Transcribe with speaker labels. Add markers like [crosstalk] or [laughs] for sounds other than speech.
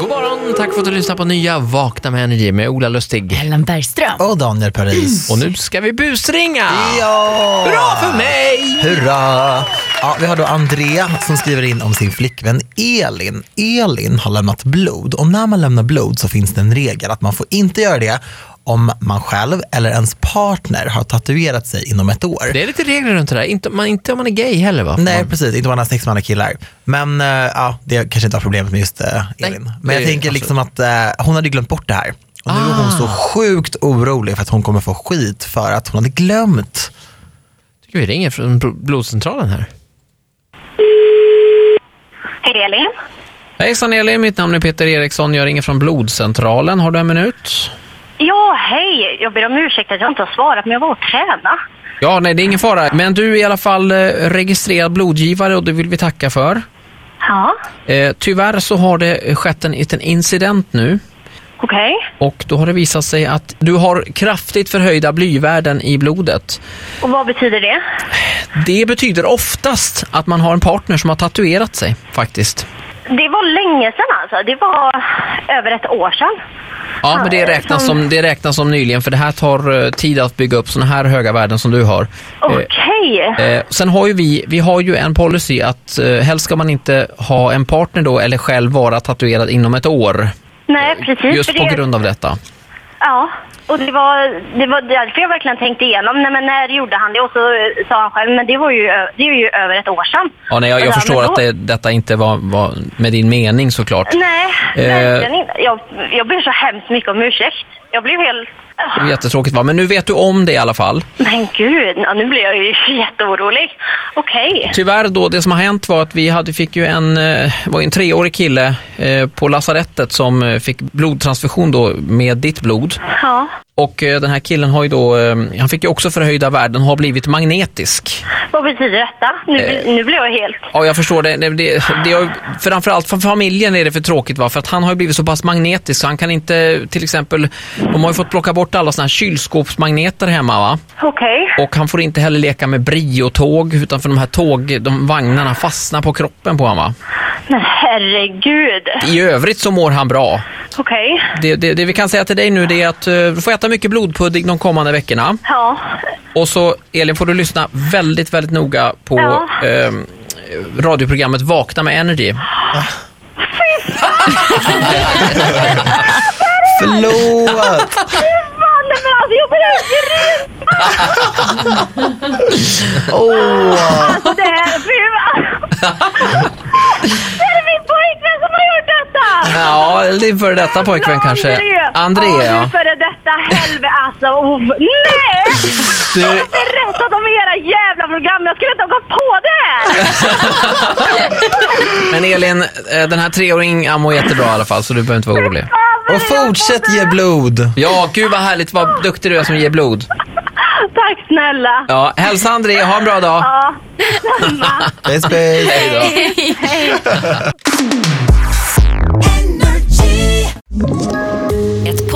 Speaker 1: God morgon, tack för att du lyssnar på nya Vakna med Energy med Ola Lustig.
Speaker 2: Ellen Bergström.
Speaker 3: Och Daniel Paris.
Speaker 1: Och nu ska vi busringa!
Speaker 3: Ja!
Speaker 1: Bra för mig!
Speaker 3: Hurra! Ja, vi har då Andrea som skriver in om sin flickvän Elin. Elin har lämnat blod och när man lämnar blod så finns det en regel att man får inte göra det om man själv eller ens partner har tatuerat sig inom ett år.
Speaker 1: Det är lite regler runt det där, inte, man, inte om man är gay heller va?
Speaker 3: Nej,
Speaker 1: Man-
Speaker 3: precis. Inte om man har sex med andra killar. Men eh, ja, det kanske inte var problemet med just eh,
Speaker 1: Nej,
Speaker 3: Elin. Men jag
Speaker 1: det-
Speaker 3: tänker
Speaker 1: absolut. Ah.
Speaker 3: liksom att eh, hon hade glömt bort det här. Och nu är hon så sjukt orolig för att hon kommer få skit för att hon hade glömt.
Speaker 1: tycker vi ringer från bl- blodcentralen här.
Speaker 4: Hej Elin.
Speaker 1: Hejsan Elin, mitt namn är Peter Eriksson. Jag ringer från blodcentralen. Har du en minut?
Speaker 4: Ja, hej. Jag ber om ursäkt att jag inte har svarat, men jag var och tränade.
Speaker 1: Ja, nej det är ingen fara. Men du är i alla fall eh, registrerad blodgivare och det vill vi tacka för.
Speaker 4: Ja,
Speaker 1: Eh, tyvärr så har det skett en liten incident nu.
Speaker 4: okej.
Speaker 1: Och då har det visat sig att du har kraftigt förhöjda blyvärden i blodet.
Speaker 4: Och vad betyder det?
Speaker 1: Det betyder oftast att man har en partner som har tatuerat sig faktiskt.
Speaker 4: Det var länge sedan alltså. Det var över ett år sedan.
Speaker 1: Ja, men det räknas som, eh, det räknas som nyligen för det här tar eh, tid att bygga upp sådana här höga värden som du har. Eh,
Speaker 4: Okej.
Speaker 1: Eh, sen har ju vi, vi har ju en policy att eh, helst ska man inte ha en partner då eller själv vara tatuerad inom ett år.
Speaker 4: Nej, precis.
Speaker 1: Just
Speaker 4: för
Speaker 1: på
Speaker 4: det-
Speaker 1: grund av detta.
Speaker 4: Ja, och det var, det var därför jag verkligen tänkte igenom. Nej, men när gjorde han det? Och så eh, sa han själv, men det var ju, ö- det är ju över ett år sedan.
Speaker 1: Ja, nej, jag,
Speaker 4: Ja,
Speaker 1: jag
Speaker 4: men
Speaker 1: förstår
Speaker 4: då-
Speaker 1: att det, detta inte var, var med din mening såklart.
Speaker 4: Nej,
Speaker 1: Eh.
Speaker 4: verkligen inte. Jag, jag ber så hemskt mycket om ursäkt. Jag blev helt...
Speaker 1: Det var jättetråkigt va, men nu vet du om det i alla fall.
Speaker 4: Men gud, ja, nu blir jag ju [laughs] jätteorolig. Okej.
Speaker 1: Tyvärr då, det som har hänt var att vi hade, fick ju en, eh, var ju en treårig kille eh, på lasarettet som eh, fick blodtransfusion då med ditt blod.
Speaker 4: Ja.
Speaker 1: Och eh, den här killen har ju då, eh, han fick ju också förhöjda värden, har blivit magnetisk.
Speaker 4: Vad betyder detta? Nu, nu blir jag helt...
Speaker 1: Ja, jag förstår det. det, det, det har, ju- framförallt för familjen är det för tråkigt va, för att han har ju blivit så pass magnetisk så han kan inte, till exempel, de har ju fått plocka bort alla såna här kylskåpsmagneter hemma va.
Speaker 4: Okej.
Speaker 1: Och han får inte heller leka med briotåg utan för de här tåg, de vagnarna fastnar på kroppen på honom va.
Speaker 4: Men herregud.
Speaker 1: I övrigt så mår han bra.
Speaker 4: Okej.
Speaker 1: Det, det, det vi kan säga till dig nu det är att eh, du får äta mycket blodpudding de kommande veckorna.
Speaker 4: Ja.
Speaker 1: Och så Elin får du lyssna väldigt, väldigt noga på
Speaker 4: Ja.
Speaker 1: ehm, radioprogrammet Vakna med Energy.
Speaker 3: Förlåt!
Speaker 4: Fan, nej, men alltså jag börjar grina. Alltså det här... Fy fan. Det är min pojkvän som har gjort detta!
Speaker 1: Ja, eller din före detta pojkvän kanske.
Speaker 4: André. Ja,
Speaker 1: Andrea.
Speaker 4: nu för det detta helvete alltså. Oh, nej!
Speaker 3: Du-
Speaker 4: Jag har inte rättat om era jävla program. Jag skulle inte ha gått på det här.
Speaker 1: Men Elin, eh, den här treåringen han mår jättebra i alla fall så du behöver inte vara orolig.
Speaker 4: Fan, vad
Speaker 3: Och
Speaker 4: jag har fått
Speaker 3: fortsätt
Speaker 4: det
Speaker 3: ge
Speaker 4: här.
Speaker 3: blod.
Speaker 1: Ja, gud vad härligt, vad duktig du är som ger blod.
Speaker 4: Tack snälla.
Speaker 1: Ja, hälsa Andrea, ha en bra dag.
Speaker 4: Ja, detsamma.
Speaker 3: Puss, puss.
Speaker 2: Ett